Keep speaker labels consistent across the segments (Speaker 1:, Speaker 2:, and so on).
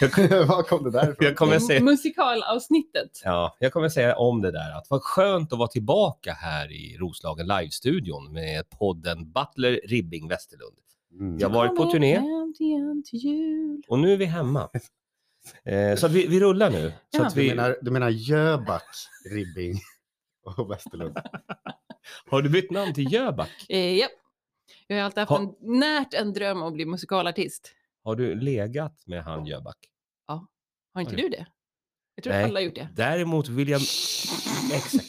Speaker 1: Var kom det där ifrån?
Speaker 2: Jag kommer säga
Speaker 3: Mm. musikalavsnittet.
Speaker 2: Ja, jag kommer säga om det där att vad skönt att vara tillbaka här i Roslagen Live-studion med podden Butler Ribbing Westerlund.
Speaker 1: Mm.
Speaker 2: Jag har varit på
Speaker 3: Kommer
Speaker 2: turné.
Speaker 3: hem igen till jul.
Speaker 2: Och nu är vi hemma. Eh, så att vi, vi rullar nu. Så
Speaker 3: Ja.
Speaker 2: att
Speaker 1: Du
Speaker 2: vi...
Speaker 1: menar, du menar Jöback, Ribbing och Westerlund?
Speaker 2: Har du bytt namn till Jöback?
Speaker 3: Eh, japp. Jag har alltid haft
Speaker 2: Ha-
Speaker 3: en, närt en dröm om att bli musikalartist.
Speaker 2: Har du legat med han Jöback?
Speaker 3: Har inte
Speaker 2: Oj.
Speaker 3: du det? Jag tror
Speaker 2: Nej.
Speaker 3: alla har gjort det.
Speaker 2: Däremot vill jag... Exakt.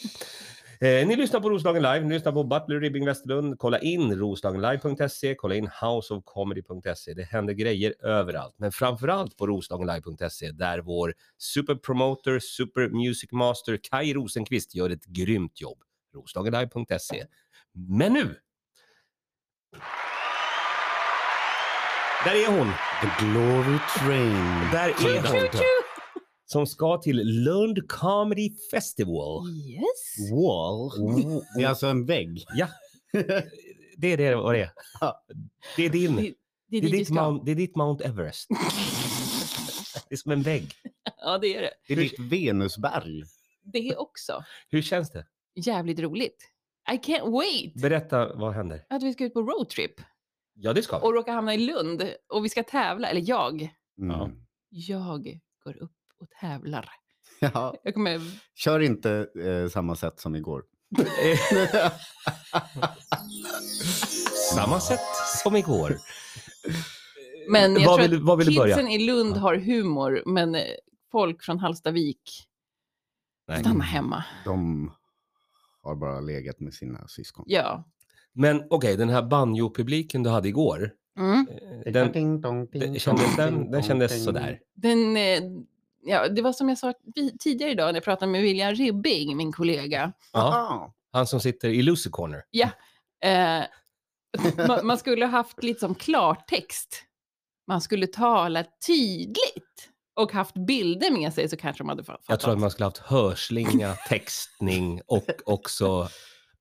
Speaker 2: Eh, ni lyssnar på Roslagen Live, ni lyssnar på Butler Ribbing Westerlund. Kolla in roslagenlive.se, kolla in houseofcomedy.se. Det händer grejer överallt, men framförallt på roslagenlive.se där vår superpromoter, supermusicmaster Kai Rosenqvist gör ett grymt jobb. roslagenlive.se. Men nu! Där är hon!
Speaker 1: The Glory Train.
Speaker 2: Där är hon! Som ska till Lund Comedy Festival.
Speaker 3: Yes.
Speaker 1: Wall.
Speaker 2: Oh.
Speaker 1: Det är alltså en vägg.
Speaker 2: Det är det vad det är.
Speaker 1: Ja.
Speaker 2: Det är din.
Speaker 3: Det- Det är
Speaker 2: Det är,
Speaker 3: dit du
Speaker 2: ditt
Speaker 3: ska.
Speaker 2: Mount, det är ditt Mount Everest. Det är som en vägg.
Speaker 3: Ja, det är det.
Speaker 1: Det är ditt Venusberg.
Speaker 3: Det också.
Speaker 2: Hur känns det?
Speaker 3: Jävligt roligt. I can't wait
Speaker 2: Berätta, vad händer?
Speaker 3: att vi ska ut på roadtrip
Speaker 2: Ja, det ska
Speaker 3: och råka hamna i Lund och vi ska tävla. Eller jag.
Speaker 2: Ja.
Speaker 1: Mm.
Speaker 3: Jag går upp och tävlar.
Speaker 1: Ja.
Speaker 3: Jag kommer...
Speaker 1: Kör inte eh, samma sätt som igår.
Speaker 2: Eh, Samma sätt som igår.
Speaker 3: Men jag
Speaker 2: Var
Speaker 3: tror
Speaker 2: vill-
Speaker 3: att
Speaker 2: var vill du börja?
Speaker 3: kidsen i Lund
Speaker 2: Ja.
Speaker 3: har humor, men eh, folk från Hallstavik
Speaker 2: Nej.
Speaker 3: stannar hemma.
Speaker 1: De har bara legat med sina syskon.
Speaker 3: Ja.
Speaker 2: Men okej, den här banjo-publiken du hade igår.
Speaker 3: Mm.
Speaker 2: eh, Den,
Speaker 1: Ding dong, ding
Speaker 2: den, kändes,
Speaker 1: dong,
Speaker 2: den,
Speaker 1: ding
Speaker 2: den
Speaker 1: dong,
Speaker 2: kändes
Speaker 1: ding.
Speaker 2: sådär.
Speaker 3: Den, eh, ja, det var som jag sa vi- tidigare idag när jag pratade med William Ribbing, min kollega.
Speaker 2: Ja,
Speaker 1: Aha.
Speaker 2: han som sitter i Lucy Corner.
Speaker 3: Eh, man, man skulle ha haft liksom klartext. Man skulle tala tydligt och haft bilder med sig så kanske de hade fa- fattat.
Speaker 2: Jag tror att man skulle haft hörslinga, textning och också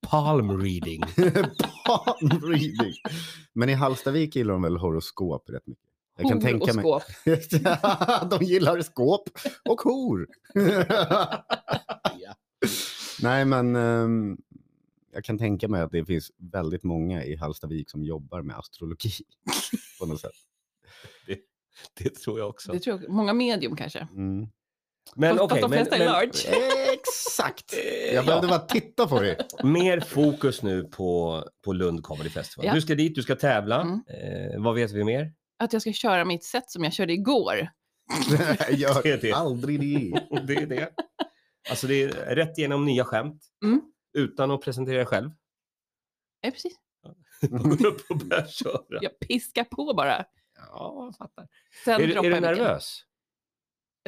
Speaker 2: palm reading.
Speaker 1: Palmreading. Men i Hallstavik gillar de väl horoskop rätt mycket? Jag kan
Speaker 3: Hor
Speaker 1: tänka
Speaker 3: och
Speaker 1: mig.
Speaker 3: skåp.
Speaker 1: de gillar skåp och hor. Nej, men ehm, jag kan tänka mig att det finns väldigt många i Hallstavik som jobbar med astrologi på något sätt.
Speaker 2: Det tror jag också.
Speaker 3: Det tror jag, många medium kanske.
Speaker 1: Mm.
Speaker 2: Men
Speaker 3: Fast-
Speaker 2: okej,
Speaker 3: fast de
Speaker 2: men,
Speaker 3: flesta är
Speaker 2: men
Speaker 3: large.
Speaker 1: Exakt!
Speaker 2: Ja.
Speaker 1: Jag behövde bara titta på det.
Speaker 2: mer fokus nu på, på Lund Comedy Festival.
Speaker 3: Ja.
Speaker 2: Du ska dit, du ska tävla.
Speaker 3: Mm.
Speaker 2: Eh, vad vet vi mer?
Speaker 3: Att jag ska köra mitt sätt som jag körde igår.
Speaker 2: Det är det.
Speaker 1: Gör aldrig det.
Speaker 2: Det är det. Alltså det är rätt igenom nya skämt.
Speaker 3: Mm.
Speaker 2: Utan att presentera er själv.
Speaker 3: Ja, Eh, precis.
Speaker 2: Upp och börja köra.
Speaker 3: Jag piskar på bara.
Speaker 2: Ja, jag fattar.
Speaker 3: Sen
Speaker 2: Är, du-
Speaker 3: droppar
Speaker 2: är du
Speaker 3: jag micken.
Speaker 2: nervös?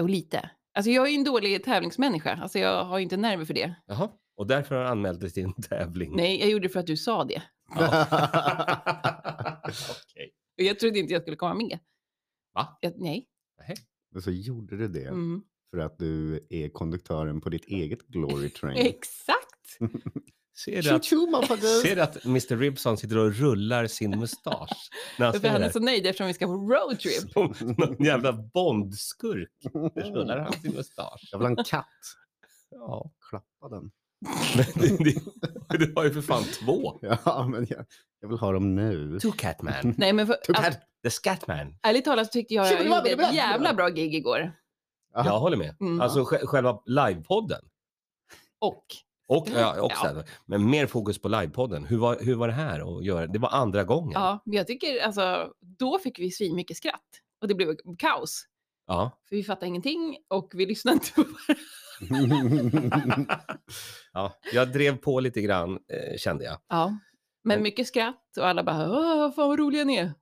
Speaker 3: Jo, lite. Alltså jag är ju en dålig tävlingsmänniska. Alltså jag har ju inte nerver för det.
Speaker 2: Jaha. Och därför har du anmält dig till en tävling.
Speaker 3: Nej, jag gjorde det för att du sa det.
Speaker 2: Okej.
Speaker 3: Och jag trodde inte jag skulle komma med.
Speaker 2: Va?
Speaker 3: Jag, nej.
Speaker 1: Men så gjorde du det
Speaker 3: Mm.
Speaker 1: för att du är konduktören på ditt eget Glory Train.
Speaker 3: Exakt.
Speaker 2: Ser du, att,
Speaker 1: Tjo-tjo,
Speaker 2: ser
Speaker 1: motherfuckers!
Speaker 2: du att Mr Ribson sitter och rullar sin mustasch? När han
Speaker 3: För
Speaker 2: säger
Speaker 3: han
Speaker 2: det
Speaker 3: är
Speaker 2: här?
Speaker 3: så nöjd eftersom vi ska på roadtrip.
Speaker 2: Som någon jävla bondskurk
Speaker 3: Mm.
Speaker 2: rullar han sin mustasch.
Speaker 1: Jag vill ha en katt.
Speaker 2: Ja.
Speaker 1: Klappa den.
Speaker 2: Men det, det, det var ju för fan två.
Speaker 1: Ja, men jag, jag vill ha dem nu.
Speaker 2: Two Catman.
Speaker 3: Nej, men för,
Speaker 2: typ
Speaker 3: alltså,
Speaker 2: The Scatman.
Speaker 3: ärligt talat så tyckte jag att jag gjorde ett jävla bra gig igår.
Speaker 1: Ja.
Speaker 2: Jag håller med.
Speaker 3: Mm.
Speaker 2: Alltså sj- själva livepodden.
Speaker 3: Och
Speaker 2: Och ja, också, Men mer fokus på livepodden. Hur var, hur var det här att göra? Det var andra gången.
Speaker 3: ja, men jag tycker alltså, då fick vi svinmycket mycket skratt. Och det blev kaos.
Speaker 2: Ja.
Speaker 3: För vi fattade ingenting och vi lyssnade inte på varandra.
Speaker 2: ja. Jag drev på lite grann eh, kände jag.
Speaker 3: Ja,
Speaker 2: Men-
Speaker 3: men mycket skratt och alla bara Åh, fan vad roliga ni är.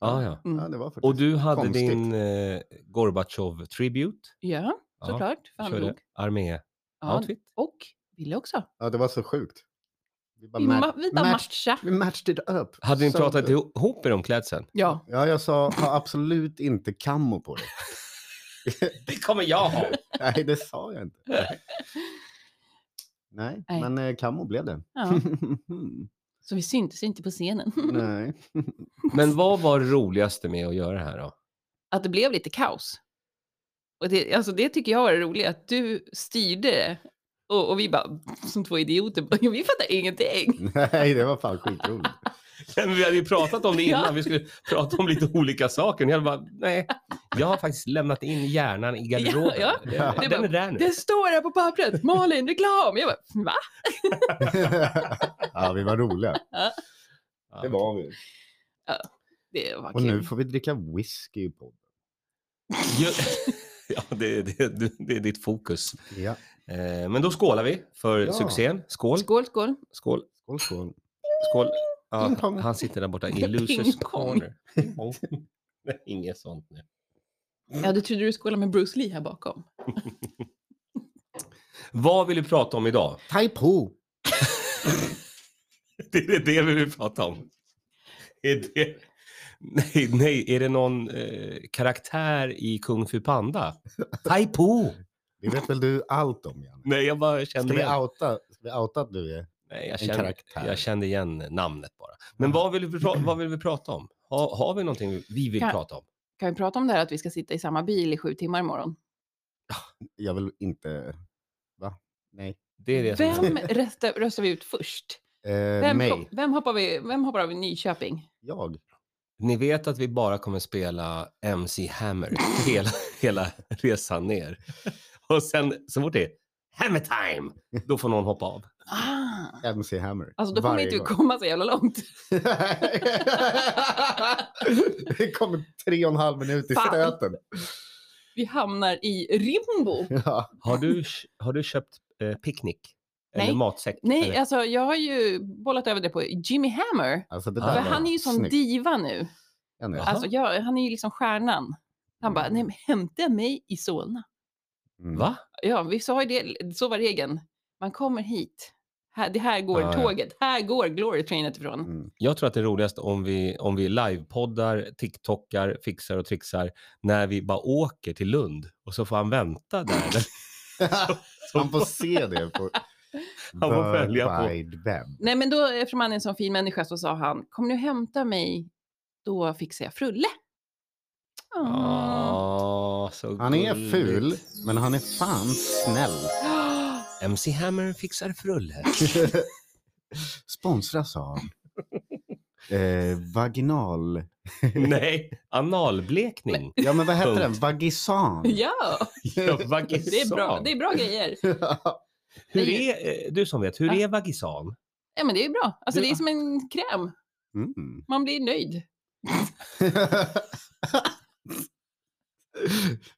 Speaker 2: Ja, ja.
Speaker 3: Mm.
Speaker 1: ja, det var faktiskt.
Speaker 2: Och du hade
Speaker 1: Konstigt.
Speaker 2: din eh, Gorbachev tribute.
Speaker 3: Ja,
Speaker 2: Ja,
Speaker 3: såklart. För han
Speaker 2: Körde typ.
Speaker 3: dog.
Speaker 2: armé-outfit.
Speaker 3: Ja, och ville också.
Speaker 1: Ja, det var så sjukt. Vi bara,
Speaker 3: Vi,
Speaker 1: ma-
Speaker 3: ma- vi bara
Speaker 1: match-
Speaker 3: matcha.
Speaker 1: vi matched it up.
Speaker 2: Hade ni
Speaker 1: Så-
Speaker 2: pratat ihop er om klädseln?
Speaker 3: Ja.
Speaker 1: Ja, jag sa ha absolut inte kammo på dig.
Speaker 2: Det kommer jag ha!
Speaker 1: Nej, det sa jag inte. Nej,
Speaker 3: Nej.
Speaker 1: men eh, kammo blev det.
Speaker 3: ja. Så vi syntes inte på scenen.
Speaker 1: Nej.
Speaker 2: Men vad var det roligaste med att göra det här då?
Speaker 3: att det blev lite kaos. Och det, alltså det tycker jag var det roliga, att du styrde det. och, och vi bara, som två idioter, bara, vi fattar ingenting.
Speaker 1: Nej, det var fan skitroligt.
Speaker 2: Men vi hade ju pratat om det innan.
Speaker 3: Ja.
Speaker 2: Vi skulle prata om lite olika saker. Jag bara, nej, jag har faktiskt lämnat in hjärnan i garderoben.
Speaker 3: Ja,
Speaker 2: Den,
Speaker 1: Ja.
Speaker 2: den är där nu.
Speaker 3: Det står här på pappret, Malin, reklam. Jag bara, va?
Speaker 1: ja, vi var roliga.
Speaker 2: Ja.
Speaker 1: Det var vi.
Speaker 3: Det var
Speaker 1: Och
Speaker 3: kul.
Speaker 1: nu får vi dricka whisky i podden.
Speaker 2: Ju- Ja, det, det, du- det är ditt fokus.
Speaker 1: Ja.
Speaker 2: Eh, men då skålar vi för
Speaker 1: Ja.
Speaker 2: succén. Skål.
Speaker 3: Skål, skål.
Speaker 2: Skål.
Speaker 1: Skål, skål.
Speaker 2: Skål. Ja,
Speaker 1: Ping pong.
Speaker 2: han sitter där borta i
Speaker 3: Ping
Speaker 2: Losers
Speaker 3: pong.
Speaker 2: corner. Ping pong. Nej, Inget sånt nu. Mm.
Speaker 3: Ja, du trodde du skålade med Bruce Lee här bakom.
Speaker 2: Vad vill vi prata om idag?
Speaker 1: Taipo.
Speaker 2: Det är det vi vill prata om. Är det... Nej, nej, är det någon eh, karaktär i Kung Fu Panda? Taipo!
Speaker 1: Det vet väl du allt om, Janne?
Speaker 2: Nej, jag bara
Speaker 1: Ska
Speaker 2: kände
Speaker 1: vi
Speaker 2: igen.
Speaker 1: outa, ska vi outa att du är
Speaker 2: Nej, jag
Speaker 1: en
Speaker 2: kände,
Speaker 1: karaktär?
Speaker 2: jag kände igen namnet bara. Men vad vill vi, pra- vad vill vi prata om? Ha, har vi någonting vi vill
Speaker 3: Kan-
Speaker 2: prata om?
Speaker 3: Kan vi prata om det här att vi ska sitta i samma bil i sju timmar imorgon?
Speaker 1: jag vill inte... Va? Nej.
Speaker 2: Det är det som
Speaker 3: Vem röstar, röstar vi ut först?
Speaker 1: Eh,
Speaker 3: Vem,
Speaker 1: mig.
Speaker 3: hop- vem, hoppar vi, vem hoppar av i Nyköping?
Speaker 1: Jag.
Speaker 2: Ni vet att vi bara kommer spela MC Hammer hela, hela resan ner. Och sen så fort det är Hammer time, då får någon hoppa av.
Speaker 3: Ah,
Speaker 1: MC Hammer.
Speaker 3: alltså då kommer
Speaker 1: Varje
Speaker 3: inte vi
Speaker 1: gång.
Speaker 3: komma så jävla långt.
Speaker 1: det kommer tre och en halv minut i
Speaker 3: Fan.
Speaker 1: stöten.
Speaker 3: Vi hamnar i Rimbo.
Speaker 1: Ja.
Speaker 2: Har du, har du köpt eh, picknick? Eller
Speaker 3: Nej.
Speaker 2: matsäck?
Speaker 3: Nej,
Speaker 2: eller?
Speaker 3: alltså jag har ju bollat över det på Jimmy Hammer.
Speaker 1: Alltså det
Speaker 2: Ja.
Speaker 1: där
Speaker 3: För
Speaker 1: var
Speaker 3: han är ju sån
Speaker 1: snyggt.
Speaker 3: diva nu.
Speaker 1: Janne.
Speaker 2: Jaha.
Speaker 3: Alltså jag, han är ju liksom stjärnan. Han bara, nej men hämta mig i Solna.
Speaker 1: Mm.
Speaker 2: Va?
Speaker 3: Ja, vi sa ju det, så var regeln. Man kommer hit. Här, det här går
Speaker 2: Ja, ja.
Speaker 3: tåget. Här går Glory Trainet ifrån.
Speaker 1: Mm.
Speaker 2: Jag tror att det är roligast om vi, om vi livepoddar, tiktokar, fixar och trixar när vi bara åker till Lund och så får han vänta där.
Speaker 1: han får se det på
Speaker 2: Han får välja på-
Speaker 1: World Wide Web.
Speaker 3: Nej, men då, eftersom han är en sån fin människa så sa han, kom nu hämta mig, då fixar jag frulle. Ah.
Speaker 2: Ah, så
Speaker 1: Han är
Speaker 2: gulligt.
Speaker 1: ful, men han är fan snäll.
Speaker 2: MC Hammer fixar frulle.
Speaker 1: Sponsras av eh, vaginal...
Speaker 2: Nej, analblekning.
Speaker 1: Ja, men vad heter den?
Speaker 2: Punkt.
Speaker 1: Vagisan.
Speaker 3: Ja,
Speaker 2: Ja,
Speaker 3: det är, bra,
Speaker 2: vagisan.
Speaker 3: det är bra grejer.
Speaker 2: Hur
Speaker 3: Nej.
Speaker 2: är, eh, du som vet, hur
Speaker 3: Ja.
Speaker 2: är vagisan?
Speaker 3: Ja, men det är bra. Alltså,
Speaker 2: Du-
Speaker 3: det är som en kräm.
Speaker 1: Mm.
Speaker 3: Man blir nöjd.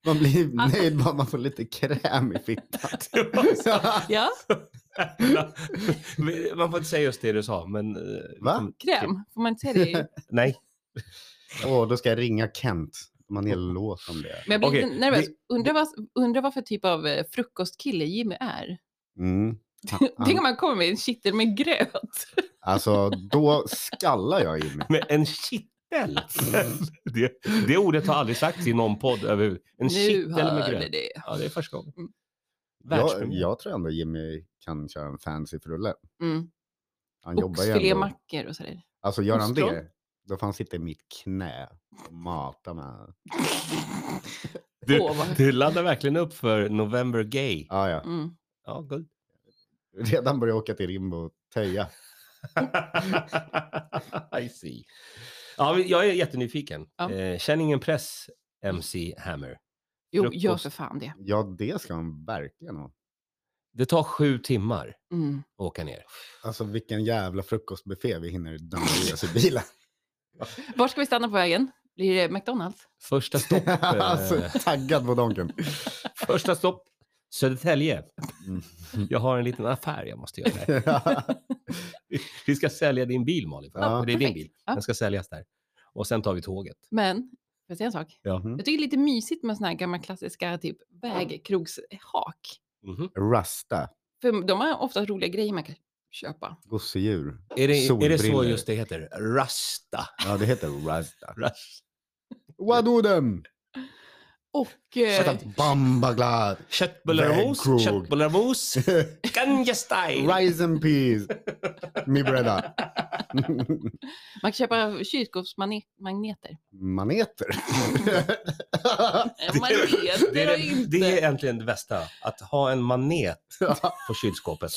Speaker 1: Man blir nöjd bara man får lite kräm i fittan.
Speaker 2: Det var så
Speaker 3: Ja,
Speaker 2: jävla- Man får inte säga just det du sa, men... eh,
Speaker 1: Va?
Speaker 3: kräm. Får man inte säga det?
Speaker 2: Nej.
Speaker 1: Åh, då ska jag ringa Kent. De har en hel låt om det.
Speaker 3: Men jag blir
Speaker 2: Okej,
Speaker 3: lite nervös.
Speaker 2: det-
Speaker 3: Undrar vad, undrar vad för typ av eh, frukostkille Jimmy är.
Speaker 1: Mm. Han-
Speaker 3: Tänk om
Speaker 1: han-
Speaker 3: han kommer med en kittel med gröt.
Speaker 1: Alltså, då skallar jag Jimmy.
Speaker 2: Men en kittel? Det, det ordet har aldrig sagts i någon podd. Över, en
Speaker 3: Nu
Speaker 2: kittel med
Speaker 3: hör ni
Speaker 2: gröt.
Speaker 3: det.
Speaker 2: Ja, det är första gången.
Speaker 3: Mm.
Speaker 1: Jag,
Speaker 2: Världspremiär.
Speaker 1: jag tror ändå Jimmy kan köra en fancy frulle.
Speaker 3: Mm.
Speaker 1: Han jobbar ju ändå.
Speaker 3: Oxfilémackor och sådär.
Speaker 1: Alltså gör han
Speaker 3: Ostron.
Speaker 1: det, då får han sitta i mitt knä och mata med.
Speaker 2: Du,
Speaker 3: Åh, vad-
Speaker 2: du laddar verkligen upp för November Gay.
Speaker 1: Ja, ja.
Speaker 3: Mm.
Speaker 2: Ja, guld.
Speaker 1: Redan börjar jag åka till Rimbo och töja.
Speaker 2: I see. Ja, men jag är jättenyfiken.
Speaker 3: Ja.
Speaker 2: Eh, Känn ingen press, MC Hammer.
Speaker 3: Jo, gör
Speaker 2: Frukost.
Speaker 3: för fan det.
Speaker 1: Ja, det ska han verkligen ha.
Speaker 2: Det tar sju timmar
Speaker 3: Mm.
Speaker 2: att åka ner.
Speaker 1: Alltså vilken jävla frukostbuffé vi hinner damma i oss i bilen.
Speaker 3: Var ska vi stanna på vägen? Blir det McDonalds?
Speaker 2: Första stopp,
Speaker 1: alltså,
Speaker 2: eh,
Speaker 1: taggad på donken.
Speaker 2: första stopp Södertälje.
Speaker 1: Mm.
Speaker 2: Jag har en liten affär jag måste göra. Här. Vi ska sälja din bil, Malin. för-
Speaker 1: Ja,
Speaker 2: det är din
Speaker 3: perfekt.
Speaker 2: bil.
Speaker 3: Ja.
Speaker 2: Den ska säljas där. Och sen tar vi tåget.
Speaker 3: Men, får jag säga en sak?
Speaker 2: Ja.
Speaker 1: Mhm.
Speaker 3: Jag tycker det är lite mysigt med såna här gamla klassiska typ vägkrogshak.
Speaker 2: Mhm.
Speaker 1: Rasta,
Speaker 3: För de har ofta roliga grejer man kan köpa.
Speaker 1: gosedjur.
Speaker 2: Är, det, är det så
Speaker 1: Solbriller.
Speaker 2: just det heter? Rasta.
Speaker 1: Ja, det heter rasta.
Speaker 2: Rasta.
Speaker 1: Vadå dem?
Speaker 3: Och... Eh,
Speaker 1: Bambaglar.
Speaker 2: Köttbullarmos,
Speaker 1: Vägkrog.
Speaker 2: köttbullarmos, ganjastyle.
Speaker 1: Rise and peace. Mi bröda.
Speaker 3: man kan köpa kylskåpsmagneter.
Speaker 1: Maneter.
Speaker 3: Eh, Magneter
Speaker 2: Det är,
Speaker 3: och
Speaker 2: det,
Speaker 3: inte...
Speaker 2: det är egentligen det bästa, att ha en manet på kylskåpet.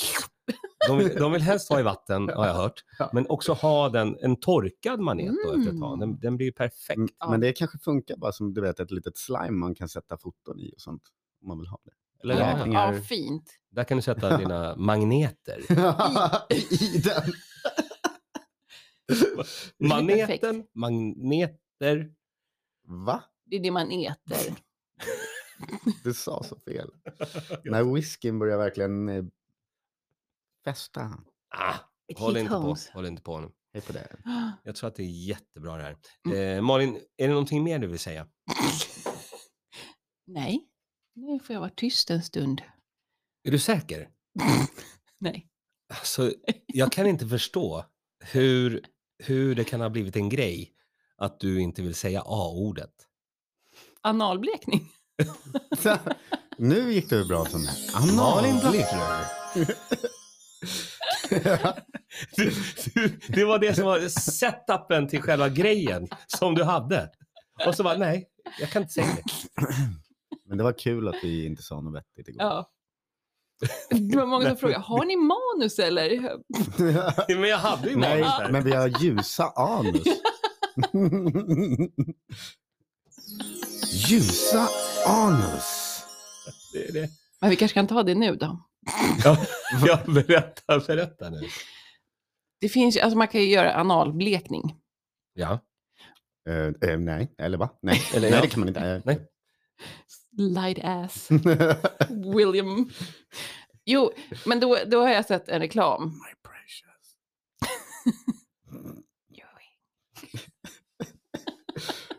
Speaker 2: De vill, de vill helst ha i vatten, har jag hört, men också ha den, en torkad manet då efter ett
Speaker 3: Mm.
Speaker 2: tag. Den, den blir ju perfekt.
Speaker 1: Mm,
Speaker 3: Ja.
Speaker 1: Men det kanske funkar bara som du vet ett litet slime man kan sätta foton i och sånt. Om man vill ha det.
Speaker 2: Eller,
Speaker 3: ja,
Speaker 1: det?
Speaker 3: ja, fint.
Speaker 2: Där kan du sätta dina magneter.
Speaker 1: I den.
Speaker 3: blir
Speaker 2: Maneten,
Speaker 3: perfekt.
Speaker 2: magneter.
Speaker 1: Va?
Speaker 3: Det är det man äter.
Speaker 1: Du sa så fel. När whiskyn börjar verkligen eh, fästa.
Speaker 2: Ah,
Speaker 3: It
Speaker 2: håll,
Speaker 3: hit
Speaker 2: inte på,
Speaker 3: homes.
Speaker 2: håll inte på nu.
Speaker 1: Hej på det.
Speaker 2: Jag tror att det är jättebra det här. Eh, Malin, är det någonting mer du vill säga?
Speaker 3: Nej, nu får jag vara tyst en stund.
Speaker 2: Är du säker?
Speaker 3: Nej.
Speaker 2: Alltså, jag kan inte förstå hur, hur det kan ha blivit en grej att du inte vill säga A-ordet.
Speaker 3: Analblekning.
Speaker 1: Så, nu gick det hur bra som helst. Analblick.
Speaker 2: Du- du- Det var det som var setupen till själva grejen som du hade. Och så bara, nej, jag kan inte säga det.
Speaker 1: Men det var kul att vi inte sa något vettigt igår.
Speaker 3: Ja. Det var många som frågade, har ni manus eller?
Speaker 2: Men jag hade ju
Speaker 1: Nej,
Speaker 2: manus där.
Speaker 1: men vi har ljusa anus. ljusa anus.
Speaker 2: Det är det.
Speaker 3: Men vi kanske kan ta det nu då.
Speaker 2: Ja, ja, berätta, berätta nu.
Speaker 3: Det finns, ju- alltså man kan ju göra analblekning.
Speaker 2: Ja.
Speaker 1: Eh, eh, nej, eller va? Nej,
Speaker 2: Eller
Speaker 1: nej
Speaker 2: ja.
Speaker 1: det kan man inte. Eh.
Speaker 2: Nej.
Speaker 3: Light ass, William. Jo, men då, då har jag sett en reklam.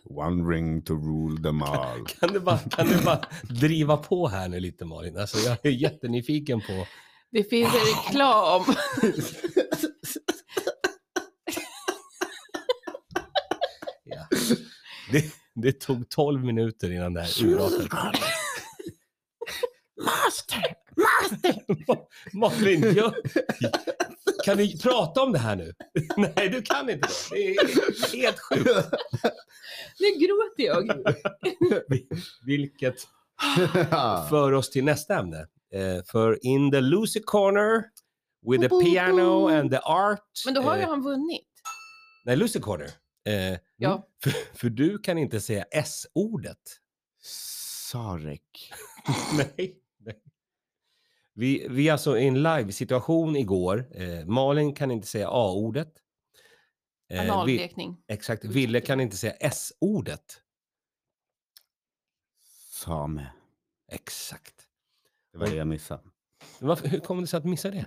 Speaker 1: One ring to rule them all.
Speaker 2: Kan du, bara, kan du bara driva på här nu lite Malin? Alltså, jag är jättenyfiken på...
Speaker 3: Det finns en reklam.
Speaker 2: Ja. Det, det tog 12 minuter innan det här urartade.
Speaker 1: Master!
Speaker 2: Ma- Malin, jag, kan vi prata om det här nu? Nej, du kan inte det. Det är helt sjukt.
Speaker 3: Nu gråter jag.
Speaker 2: Vilket för oss till nästa ämne. Eh, för in the Lucy corner with the piano and the art.
Speaker 3: Men då har ju
Speaker 2: eh,
Speaker 3: han vunnit.
Speaker 2: Nej, Lucy corner. Eh,
Speaker 3: Ja.
Speaker 2: för, för du kan inte säga S-ordet.
Speaker 1: Sarek.
Speaker 2: Nej. nej. Vi, vi är alltså i en live-situation igår. Eh, Malin kan inte säga A-ordet. Eh, vi,
Speaker 3: Analblekning.
Speaker 2: exakt. Ville kan inte säga S-ordet.
Speaker 1: Same.
Speaker 2: Exakt.
Speaker 1: Det
Speaker 3: Mm.
Speaker 1: var det jag missade.
Speaker 2: Men Varför, hur kom det sig att missa det?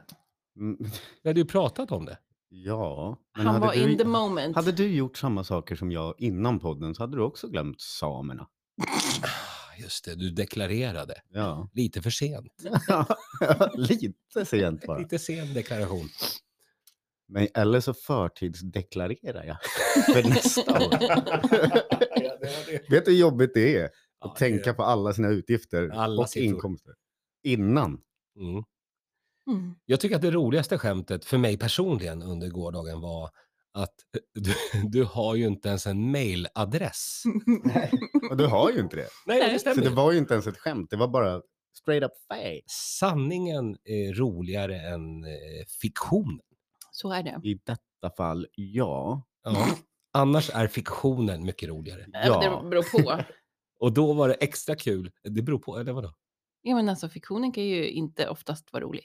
Speaker 1: Mm,
Speaker 2: Vi hade ju pratat om det.
Speaker 1: Ja. men
Speaker 3: Han
Speaker 1: hade
Speaker 3: var
Speaker 1: du-
Speaker 3: in the moment.
Speaker 1: Hade du gjort samma saker som jag innan podden så hade du också glömt samerna.
Speaker 2: Ah, Just det, du deklarerade.
Speaker 1: Ja.
Speaker 2: Lite för sent.
Speaker 1: Lite sent bara.
Speaker 2: Lite sen deklaration.
Speaker 1: Men, eller så förtidsdeklarerar jag för nästa år.
Speaker 2: Ja, det var det.
Speaker 1: Vet du hur jobbigt det är att
Speaker 2: Ja, det-
Speaker 1: tänka på alla sina utgifter
Speaker 2: Alla
Speaker 1: och
Speaker 2: siffror.
Speaker 1: inkomster innan?
Speaker 2: Mm.
Speaker 3: Mm.
Speaker 2: Jag tycker att det roligaste skämtet för mig personligen under gårdagen var att eh, du, du har ju inte ens en mailadress.
Speaker 1: Och du har ju inte det.
Speaker 2: Nej, det
Speaker 3: Nej.
Speaker 1: Mm, Så
Speaker 2: stämmer.
Speaker 1: det
Speaker 2: ju.
Speaker 1: var ju inte ens ett skämt, det var bara straight up fake.
Speaker 2: Sanningen är roligare än eh, fiktion.
Speaker 3: Så är det.
Speaker 1: I detta fall, ja.
Speaker 2: Ja. Annars är fiktionen mycket roligare.
Speaker 3: Ja. Det
Speaker 1: Ja.
Speaker 3: beror på.
Speaker 2: Och då var det extra kul. Det beror på, eller vadå?
Speaker 3: Ja, men alltså fiktionen kan ju inte oftast vara rolig.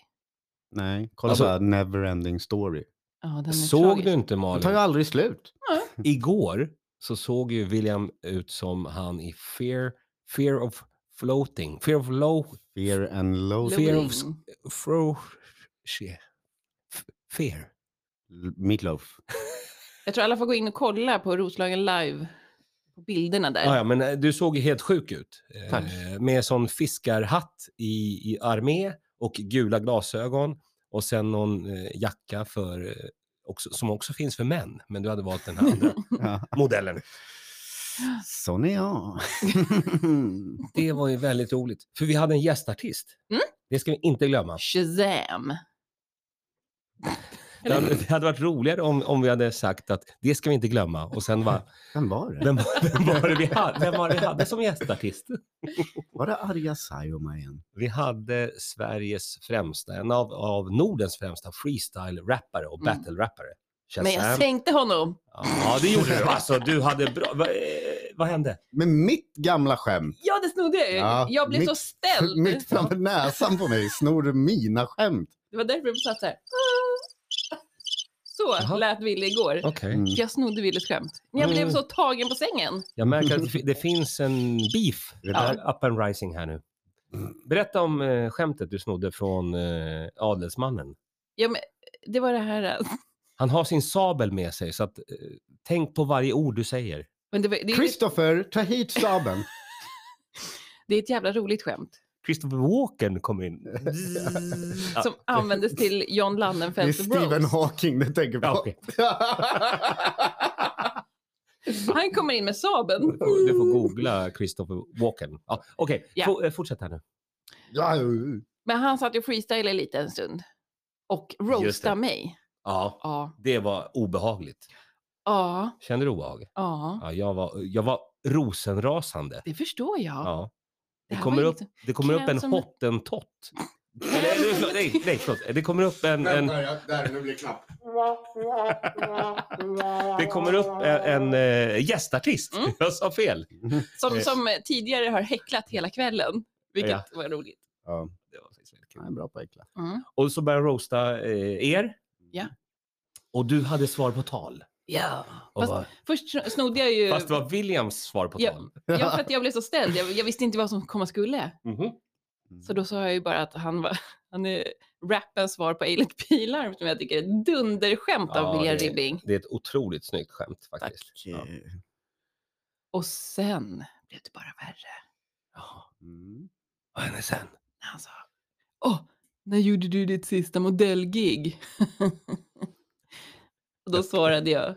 Speaker 1: Nej, kolla
Speaker 2: Alltså-
Speaker 1: bara Neverending story.
Speaker 3: Ja, den är
Speaker 2: Såg
Speaker 3: tragisk.
Speaker 2: du inte
Speaker 1: Det tar ju
Speaker 2: Malin?
Speaker 1: aldrig slut.
Speaker 2: Igår så såg ju William ut som han i Fear, fear of floating. Fear of low...
Speaker 1: Fear and loathing.
Speaker 2: Fear of
Speaker 3: Loathing.
Speaker 2: sk- Fro... she- f- Fear.
Speaker 1: Meatloaf.
Speaker 3: Jag tror alla får gå in och kolla på Roslagen live. På bilderna där.
Speaker 2: Ja, ja, men eh, du såg ju helt sjuk ut. Eh,
Speaker 1: Tack.
Speaker 2: Med sån fiskarhatt i, i armé och gula glasögon och sen någon eh, jacka för, eh, också, som också finns för män, men du hade valt den här andra
Speaker 1: Ja.
Speaker 2: modellen.
Speaker 1: Sån är jag.
Speaker 2: Det var ju väldigt roligt. För vi hade en gästartist.
Speaker 3: Mm.
Speaker 2: Det ska vi inte glömma.
Speaker 3: Shazam.
Speaker 2: Det hade, det hade varit roligare om, om vi hade sagt att det ska vi inte glömma. Och sen bara,
Speaker 1: Vem var det?
Speaker 2: vem, vem, var det vi hade, vem var det vi hade som gästartist?
Speaker 1: Var det Arja Saijonmaa igen?
Speaker 2: Vi hade Sveriges främsta, en av, av Nordens främsta freestyle-rappare och
Speaker 3: Mm.
Speaker 2: battle-rappare.
Speaker 3: Men jag
Speaker 2: Shazam.
Speaker 3: sänkte honom.
Speaker 2: Ja, det gjorde du. Alltså, du hade bra... Va, eh, vad hände?
Speaker 1: Men mitt gamla skämt.
Speaker 3: Ja, det snodde jag ju.
Speaker 1: Ja,
Speaker 3: jag blev
Speaker 1: mitt-
Speaker 3: så ställd.
Speaker 1: Mitt framför näsan på mig snor du mina skämt.
Speaker 3: Det var därför jag satt så här. Så
Speaker 2: Jaha.
Speaker 3: lät Wille igår.
Speaker 2: Okej.
Speaker 1: Mm.
Speaker 3: Jag snodde Willes skämt. Men jag blev
Speaker 2: Mm.
Speaker 3: så tagen på sängen.
Speaker 2: Jag märker att det fi- det finns en beef
Speaker 1: Det där-
Speaker 2: uh, up and rising här nu. Berätta om eh, skämtet du snodde från eh, adelsmannen.
Speaker 3: Ja, men det var det här. eh,
Speaker 2: Han har sin sabel med sig, så att, eh, tänk på varje ord du säger.
Speaker 3: Men det, var, det, är, ju-
Speaker 1: Christopher, ta hit sabeln.
Speaker 3: det är ett jävla roligt skämt.
Speaker 2: Christopher Walken kom in. Ja.
Speaker 3: Som användes till John
Speaker 1: Det är
Speaker 3: Landenfelds
Speaker 1: Stephen
Speaker 3: roast.
Speaker 1: Hawking du tänker
Speaker 2: Ja,
Speaker 1: på.
Speaker 2: okej.
Speaker 3: Han kommer in med sabeln.
Speaker 2: Du får- Du får googla Christopher Walken. Ja, Okej,
Speaker 3: Mm. Ja.
Speaker 2: få- eh, fortsätt här nu.
Speaker 1: ja,
Speaker 3: Men han satt ju och freestylade lite en stund. Och roastade mig.
Speaker 2: Ja,
Speaker 3: Ja,
Speaker 2: det var obehagligt.
Speaker 3: ja,
Speaker 2: Kände du obehag?
Speaker 3: ja.
Speaker 2: Ja, jag, var, jag var rosenrasande.
Speaker 3: Det förstår jag.
Speaker 2: Ja.
Speaker 3: Det
Speaker 2: Det
Speaker 3: här
Speaker 2: kommer,
Speaker 3: var
Speaker 2: upp,
Speaker 3: inget-
Speaker 2: det kommer upp
Speaker 3: knän
Speaker 2: en
Speaker 3: som-
Speaker 2: hottentott. Eller, nej, förlåt, nej, nej, förlåt. Det kommer upp en... en
Speaker 1: där, nu blir det klapp.
Speaker 2: det kommer upp en, en eh, gästartist.
Speaker 3: Mm.
Speaker 2: Jag sa fel.
Speaker 3: Som,
Speaker 2: Eh.
Speaker 3: som eh, tidigare har häcklat hela kvällen. Vilket var roligt.
Speaker 1: Ja,
Speaker 2: Det var faktiskt väldigt kul.
Speaker 1: han är bra på att äckla.
Speaker 3: Mm.
Speaker 2: Och så började jag roasta eh, er.
Speaker 3: Ja.
Speaker 2: Och du hade svar på tal.
Speaker 3: Ja.
Speaker 2: Och
Speaker 3: Fast-
Speaker 2: bara,
Speaker 3: Först sno- snodde jag ju...
Speaker 2: fast det var Williams svar på
Speaker 3: Ja.
Speaker 2: tal.
Speaker 3: Ja, för att jag blev så ställd. Jag, jag visste inte vad som komma skulle.
Speaker 2: Mhm.
Speaker 1: Mm.
Speaker 3: Så då sa jag ju bara att han var... Han är rappens svar på Eilert Pilar som jag tycker är ett dunderskämt av
Speaker 2: Ja,
Speaker 3: William
Speaker 2: det-
Speaker 3: Ribbing.
Speaker 2: Det är ett otroligt snyggt skämt faktiskt. Ja.
Speaker 1: Okej.
Speaker 3: Och sen blev det bara värre.
Speaker 2: Jaha.
Speaker 1: Mm.
Speaker 2: Vad hände sen?
Speaker 3: När han sa... Åh, när gjorde du ditt sista modellgig? Och då svarade jag...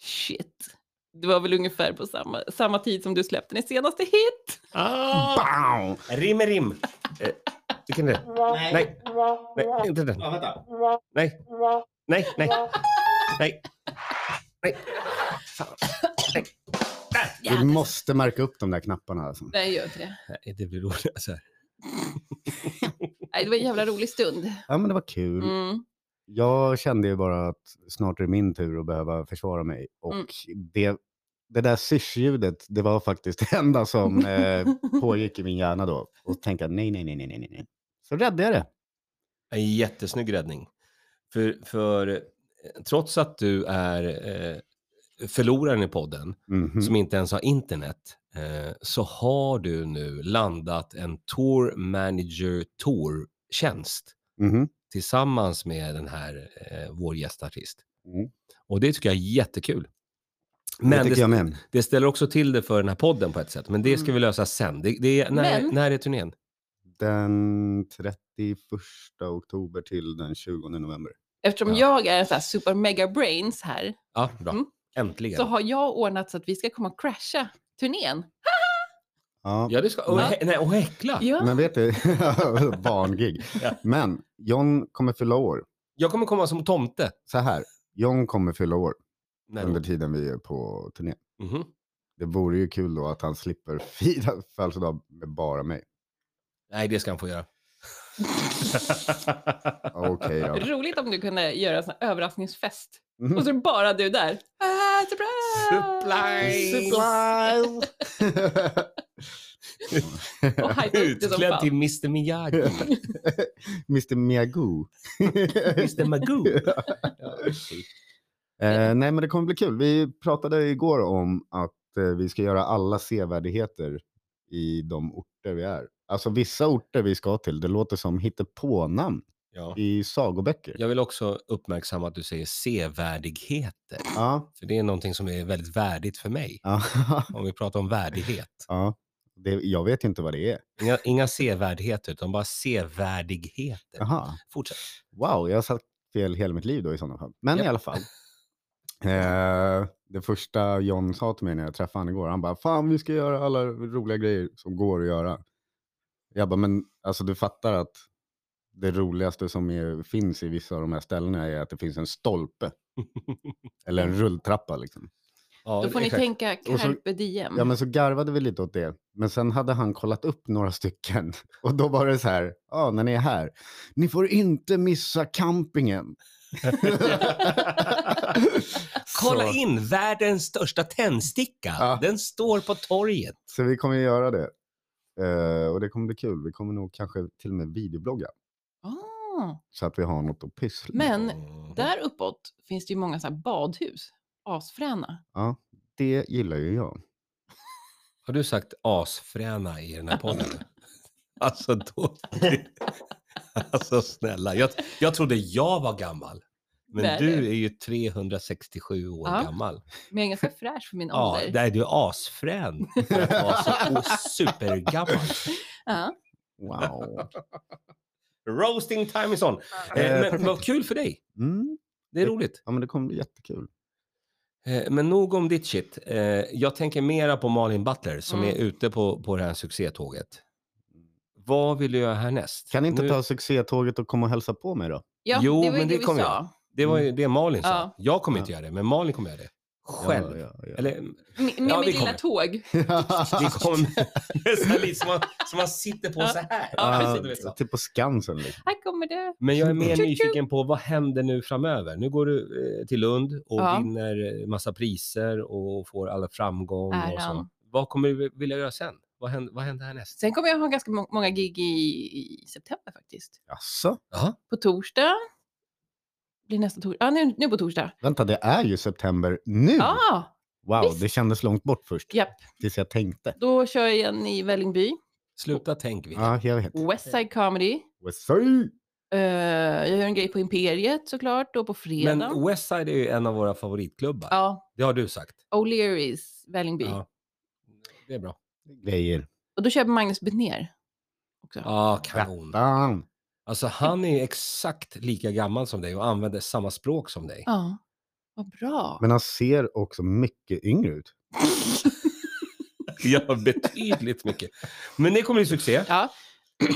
Speaker 3: Shit. Det var väl ungefär på samma, samma tid som du släppte din senaste hit.
Speaker 2: Ah!
Speaker 1: Bam!
Speaker 2: Rim är rim. Eh, vilken är det? Nej. Nej, inte den.
Speaker 1: Ja, vänta.
Speaker 2: Nej. Nej, nej. Nej. Nej. Fan. Nej. Där!
Speaker 1: Vi måste märka upp de där knapparna. Alltså.
Speaker 3: Nej, gör inte det.
Speaker 2: Nej, det blir roligt. Alltså, Så här.
Speaker 3: Nej, det var en jävla rolig stund.
Speaker 1: Ja, men det var kul.
Speaker 3: Mm.
Speaker 1: Jag kände ju bara att snart är det min tur att behöva försvara mig. Och
Speaker 3: Mm.
Speaker 1: det, det där syrsljudet, det var faktiskt det enda som eh, pågick i min hjärna då. Och tänka nej, nej, nej, nej, nej, nej, nej. Så räddade jag det.
Speaker 2: En jättesnygg räddning. För, för eh, trots att du är eh, förloraren i podden,
Speaker 1: Mhm.
Speaker 2: som inte ens har internet, eh, så har du nu landat en Tour Manager Tour-tjänst
Speaker 1: Mhm.
Speaker 2: tillsammans med den här, eh, vår gästartist.
Speaker 1: Mm.
Speaker 2: Och det tycker jag är jättekul.
Speaker 1: Det
Speaker 2: Men det,
Speaker 1: tycker jag med.
Speaker 2: det ställer också till det för den här podden på ett sätt, men det ska
Speaker 3: Mm.
Speaker 2: vi lösa sen. Det, det är, när,
Speaker 3: Men-
Speaker 2: när är turnén?
Speaker 1: Den 31 oktober till den 20 november.
Speaker 3: Eftersom
Speaker 2: Ja.
Speaker 3: jag är en sån här super mega brains här
Speaker 2: Ja, bra.
Speaker 3: Mm.
Speaker 2: Äntligen.
Speaker 3: så har jag ordnat så att vi ska komma och crasha turnén.
Speaker 1: Ja.
Speaker 2: Ja, det ska... Och,
Speaker 3: Ja.
Speaker 2: hä- nej, och häckla.
Speaker 3: Ja.
Speaker 1: Ah, Men vet du, barngig.
Speaker 2: Ja.
Speaker 1: Men John kommer fylla år.
Speaker 2: Jag kommer komma som tomte.
Speaker 1: Så här, John kommer fylla år
Speaker 2: Nej,
Speaker 1: under tiden vi är på turné.
Speaker 2: mhm.
Speaker 1: Det vore ju kul då att han slipper fira födelsedag med bara mig.
Speaker 2: nej, det ska han få göra.
Speaker 1: Okej ja.
Speaker 3: Roligt om du kunde göra en sån här överraskningsfest.
Speaker 1: Mhm.
Speaker 3: Och så är det bara du där. Ah, surprise!
Speaker 1: Surprise!
Speaker 3: Och hajpa upp det som
Speaker 2: Utklädd till
Speaker 3: fan.
Speaker 2: Mr Miyagi.
Speaker 1: Mr Miyagoo.
Speaker 2: Mr Magoo.
Speaker 1: eh, nej men det kommer bli kul. Vi pratade igår om att eh, vi ska göra alla sevärdheter i de orter vi är. Alltså vissa orter vi ska till, det låter som hittepånamn
Speaker 2: Ja.
Speaker 1: i sagoböcker.
Speaker 2: Jag vill också uppmärksamma att du säger sevärdigheter.
Speaker 1: Ja.
Speaker 2: För det är någonting som är väldigt värdigt för mig.
Speaker 1: Ja.
Speaker 2: Om vi pratar om värdighet.
Speaker 1: ja. Det, jag vet ju inte vad det är.
Speaker 2: Inga, inga sevärdigheter, utan bara sevärdigheter.
Speaker 1: Aha.
Speaker 2: Fortsätt.
Speaker 1: Wow, jag har sagt fel hela mitt liv då i sådana fall. Men
Speaker 2: Japp.
Speaker 1: i alla fall. Eh, Det första John sa till mig när jag träffade honom igår, han bara fan vi ska göra alla roliga grejer som går att göra. Jag bara men alltså du fattar att det roligaste som är, finns i vissa av de här ställena är att det finns en stolpe. Eller en rulltrappa liksom.
Speaker 2: Ja,
Speaker 3: Då får ni
Speaker 2: exakt.
Speaker 3: tänka
Speaker 1: Och så-
Speaker 3: carpe diem.
Speaker 1: Ja men
Speaker 2: Mm.
Speaker 1: så garvade vi lite åt det. Men sen hade han kollat upp några stycken. Och då var det så här, ja när ni är här, ni får inte missa campingen.
Speaker 2: Kolla
Speaker 1: så,
Speaker 2: in världens största tändsticka.
Speaker 1: Ja.
Speaker 2: Den står på torget.
Speaker 1: så vi kommer göra det. Eh, och det kommer bli kul. Vi kommer nog kanske till och med videoblogga.
Speaker 3: Ah,
Speaker 1: Så att vi har något att pyssla med.
Speaker 3: men
Speaker 2: Mhm.
Speaker 3: där uppåt finns det ju många så här badhus. Asfräna.
Speaker 1: Ja, det gillar ju jag.
Speaker 2: Har du sagt asfräna i den här podden? alltså då... alltså snälla, jag, jag trodde jag var gammal. Men
Speaker 3: Nej.
Speaker 2: du är ju 367 år
Speaker 3: Ja.
Speaker 2: gammal.
Speaker 3: Men jag är ganska fräsch för min
Speaker 2: Ja,
Speaker 3: ålder.
Speaker 2: nej, du är asfrän för att vara så o- supergammal.
Speaker 3: Ja.
Speaker 1: Wow.
Speaker 2: Roasting time is on. Eh,
Speaker 1: Eh,
Speaker 2: men
Speaker 1: perfekt.
Speaker 2: vad kul för dig.
Speaker 1: Mm.
Speaker 2: Det är roligt.
Speaker 1: Ja men det kommer bli jättekul.
Speaker 2: Eh, Men nog om ditt shit. Eh, Jag tänker mera på Malin Butler som
Speaker 3: Mm.
Speaker 2: är ute på, på det här succétåget. Vad vill du göra härnäst?
Speaker 1: Kan ni inte
Speaker 2: Nu-
Speaker 1: ta succétåget och komma och hälsa på mig då?
Speaker 3: Ja,
Speaker 2: Jo,
Speaker 3: det var ju
Speaker 2: men
Speaker 3: det
Speaker 2: det
Speaker 3: vi
Speaker 2: kommer jag.
Speaker 3: sa.
Speaker 2: Det var ju det Malin sa.
Speaker 3: Ja.
Speaker 2: Jag kommer
Speaker 1: Mm. Ja.
Speaker 2: inte göra det, men Malin kommer göra det. Själv.
Speaker 1: Ja, ja, ja.
Speaker 2: Eller,
Speaker 3: Med, med
Speaker 2: Ja, vi
Speaker 3: mitt lilla
Speaker 2: kommer.
Speaker 3: tåg.
Speaker 2: det kommer nästan lite som man, som man sitter på så här.
Speaker 3: Ja,
Speaker 1: Ja,
Speaker 2: Alltså, du vet så.
Speaker 1: typ på Skansen. Liksom.
Speaker 3: Här kommer det.
Speaker 2: Men jag är mer
Speaker 3: Tju-tju.
Speaker 2: nyfiken på vad händer nu framöver? Nu går du eh, till Lund och
Speaker 3: Ja.
Speaker 2: vinner eh, massa priser och får alla framgång och så.
Speaker 3: Äran.
Speaker 2: Vad kommer du vilja göra sen? Vad händer, vad händer härnäst?
Speaker 3: Sen kommer jag ha ganska må- många gig i, i september faktiskt.
Speaker 1: Jaså?
Speaker 2: Ja,
Speaker 3: På torsdag. Blir nästa torsdag. Ja, nu, nu på torsdag.
Speaker 2: Mm.
Speaker 1: Vänta, det är ju september nu!
Speaker 3: Ja,
Speaker 1: wow,
Speaker 3: visst.
Speaker 1: det kändes långt bort först.
Speaker 3: Japp.
Speaker 1: Tills jag tänkte.
Speaker 3: då kör jag igen i Vällingby.
Speaker 2: sluta tänk vi.
Speaker 1: Ja, jag vet.
Speaker 3: Westside Comedy.
Speaker 1: Sorry.
Speaker 3: Eh, jag gör en grej på Imperiet såklart, då på fredag.
Speaker 2: Men Westside är ju en av våra favoritklubbar.
Speaker 3: Ja,
Speaker 2: Det har du sagt.
Speaker 3: O'Learys, Vällingby.
Speaker 2: Ja. Det är bra.
Speaker 1: Grejer.
Speaker 3: Och då kör jag Magnus Betnér också.
Speaker 2: Ja, kanon.
Speaker 1: Fan.
Speaker 2: Alltså han är ju exakt lika gammal som dig och använder samma språk som dig.
Speaker 3: Ja, vad bra.
Speaker 1: Men han ser också mycket yngre ut.
Speaker 2: Ja, betydligt mycket. Men det kommer bli succé.
Speaker 3: Ja,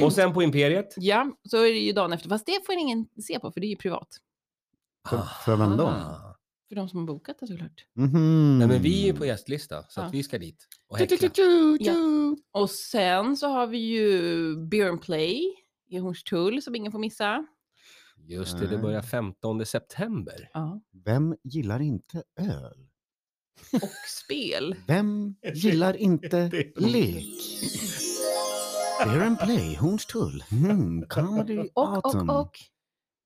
Speaker 2: Och sen på Imperiet.
Speaker 3: ja, så är det ju dagen efter. Fast det får ingen se på, för det är ju privat.
Speaker 1: För, för vem då?
Speaker 2: Ah.
Speaker 3: För de som har bokat det såklart.
Speaker 1: Mhm.
Speaker 2: Nej, men vi är ju på gästlista, så
Speaker 3: Mm. Ja.
Speaker 2: att vi ska dit och
Speaker 1: Tju, tju,
Speaker 2: häckla.
Speaker 1: tju,
Speaker 3: Ja.
Speaker 1: tju.
Speaker 3: Och sen så har vi ju Beer and Play i Hornstull som ingen får missa.
Speaker 2: Just det, det börjar 15 september.
Speaker 3: Ja.
Speaker 1: Vem gillar inte öl?
Speaker 3: Och spel.
Speaker 1: Vem gillar inte lek? Beer and play, Hornstull. Mm, comedy
Speaker 3: Och,
Speaker 1: autumn.
Speaker 3: och, och.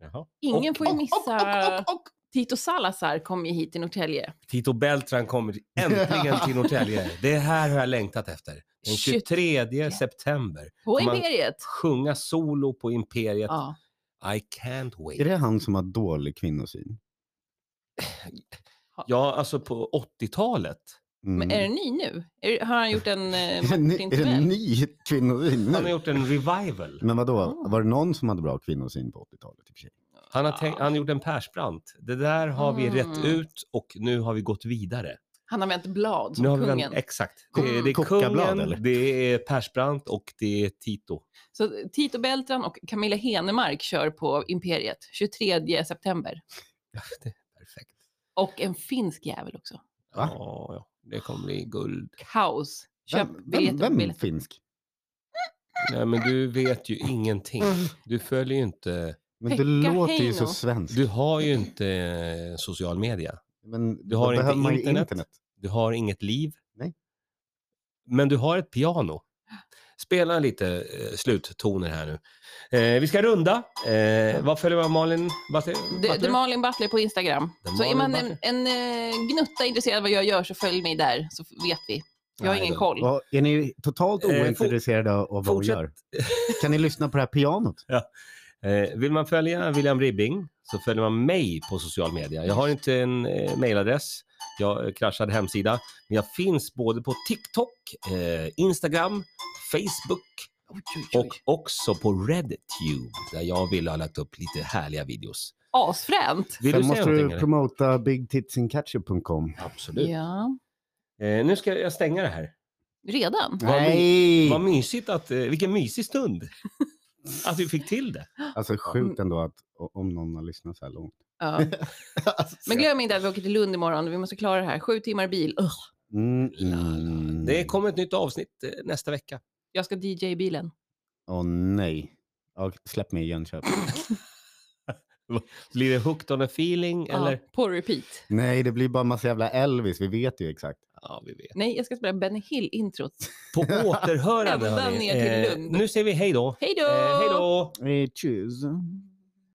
Speaker 2: Jaha.
Speaker 3: Ingen
Speaker 2: Och-
Speaker 3: får ju
Speaker 2: och-
Speaker 3: missa. Tito Salazar kom ju hit till Norrtälje.
Speaker 2: Tito Beltran kommer äntligen till Norrtälje. Det här har jag längtat efter. Den
Speaker 3: Shit.
Speaker 2: 23 september.
Speaker 3: På
Speaker 2: Man-
Speaker 3: Imperiet.
Speaker 2: Sjunga solo på Imperiet.
Speaker 3: Ja.
Speaker 2: I can't wait.
Speaker 1: Är det han som har dålig kvinnosyn?
Speaker 2: Ja, alltså på 80-talet.
Speaker 1: Mm.
Speaker 3: Men är den ny nu? Är, har han gjort en
Speaker 1: Är
Speaker 3: eh,
Speaker 1: det ny- är det
Speaker 3: Martin
Speaker 1: ny kvinnosyn
Speaker 2: Han har
Speaker 1: nu?
Speaker 2: gjort en revival.
Speaker 1: Men vadå,
Speaker 3: Ah.
Speaker 1: var det någon som hade bra kvinnosyn på 80-talet? i och för sig?
Speaker 2: Han har, tänkt, han har gjort en Persbrandt. Det där har vi rätt
Speaker 3: Mm.
Speaker 2: ut och nu har vi gått vidare.
Speaker 3: Han har vänt blad
Speaker 2: nu har
Speaker 3: som
Speaker 2: vi vänt-
Speaker 3: kungen.
Speaker 2: exakt. Det är,
Speaker 3: Mm.
Speaker 2: det är
Speaker 1: Kokablad,
Speaker 2: kungen,
Speaker 1: eller?
Speaker 2: det är Persbrandt och det är Tito.
Speaker 3: Så Tito Beltran och Camilla Henemark kör på Imperiet 23 september.
Speaker 2: Det är perfekt.
Speaker 3: Och en finsk jävel också.
Speaker 1: Va?
Speaker 2: Ja, ja, det kommer bli guld.
Speaker 3: Kaos. Köp
Speaker 1: vem,
Speaker 3: biljetter
Speaker 1: vem,
Speaker 3: på
Speaker 1: vem
Speaker 3: biljetter.
Speaker 1: finsk?
Speaker 2: Nej, men du vet ju ingenting. Du följer ju inte.
Speaker 1: Men
Speaker 3: Pekka
Speaker 1: du låter ju så
Speaker 3: Heino.
Speaker 1: svensk.
Speaker 2: Du har ju inte eh, social media.
Speaker 1: men
Speaker 2: du
Speaker 1: då
Speaker 2: har inte
Speaker 1: behöver man ju
Speaker 2: internet.
Speaker 1: internet.
Speaker 2: Du har inget liv.
Speaker 1: Nej.
Speaker 2: Men du har ett piano. Spela lite eh, sluttoner här nu. Eh, vi ska runda. Eh, vad följer man Malin? Batte-
Speaker 3: The,
Speaker 2: Batter?
Speaker 3: The Malin Butler på Instagram.
Speaker 2: The
Speaker 3: så är
Speaker 2: Malin
Speaker 3: man en, en eh, gnutta intresserad av vad jag gör så följ mig där så vet vi. Jag har
Speaker 2: Nej,
Speaker 3: ingen
Speaker 2: då.
Speaker 3: koll.
Speaker 1: Vad- Är ni totalt
Speaker 2: Eh, fo-
Speaker 1: ointresserade av vad hon
Speaker 2: fortsätt.
Speaker 1: gör? Kan ni lyssna på det här pianot?
Speaker 2: Eh, vill man följa William Ribbing så följer man mig på social media. Jag har inte en eh, mailadress. Jag eh, kraschade hemsida. Men jag finns både på TikTok, eh, Instagram, Facebook
Speaker 3: Oj, oj, oj.
Speaker 2: och också på RedTube där jag och Wille har lagt upp lite härliga videos.
Speaker 3: asfränt.
Speaker 2: Vill
Speaker 1: Sen
Speaker 2: du säga
Speaker 1: måste
Speaker 2: någonting?
Speaker 1: du
Speaker 2: eller?
Speaker 1: promota bigtitsincature.com.
Speaker 2: Absolut.
Speaker 3: Ja,
Speaker 2: Eh, nu ska jag stänga det här.
Speaker 3: redan.
Speaker 2: Vad my-
Speaker 1: Nej!
Speaker 2: Vad mysigt att, eh, vilken mysig stund. Att vi fick till det.
Speaker 1: Alltså sjukt ändå att o- om någon har lyssnat så här långt.
Speaker 3: Ja.
Speaker 2: Alltså,
Speaker 3: Men glöm inte att vi åker till Lund imorgon. Vi måste klara det här. Sju timmar bil. Ugh.
Speaker 1: Mm,
Speaker 2: La, la. Det
Speaker 1: mm.
Speaker 2: kommer ett nytt avsnitt eh, nästa vecka.
Speaker 3: Jag ska DJ i bilen.
Speaker 1: Åh nej. Ja, släpp mig i Jönköping.
Speaker 2: Blir det hooked on a feeling
Speaker 3: Ja,
Speaker 2: eller?
Speaker 3: på repeat.
Speaker 1: nej, det blir bara massa jävla Elvis. Vi vet ju exakt.
Speaker 2: Ja, vi vet.
Speaker 3: Nej, jag ska spela Benny Hill-introt.
Speaker 2: På återhörande
Speaker 3: Ända
Speaker 2: hörni. Eh,
Speaker 3: ner till Lund.
Speaker 2: nu säger vi hej då.
Speaker 3: Hej då!
Speaker 2: Eh, hej då!
Speaker 1: Eh, Tjus.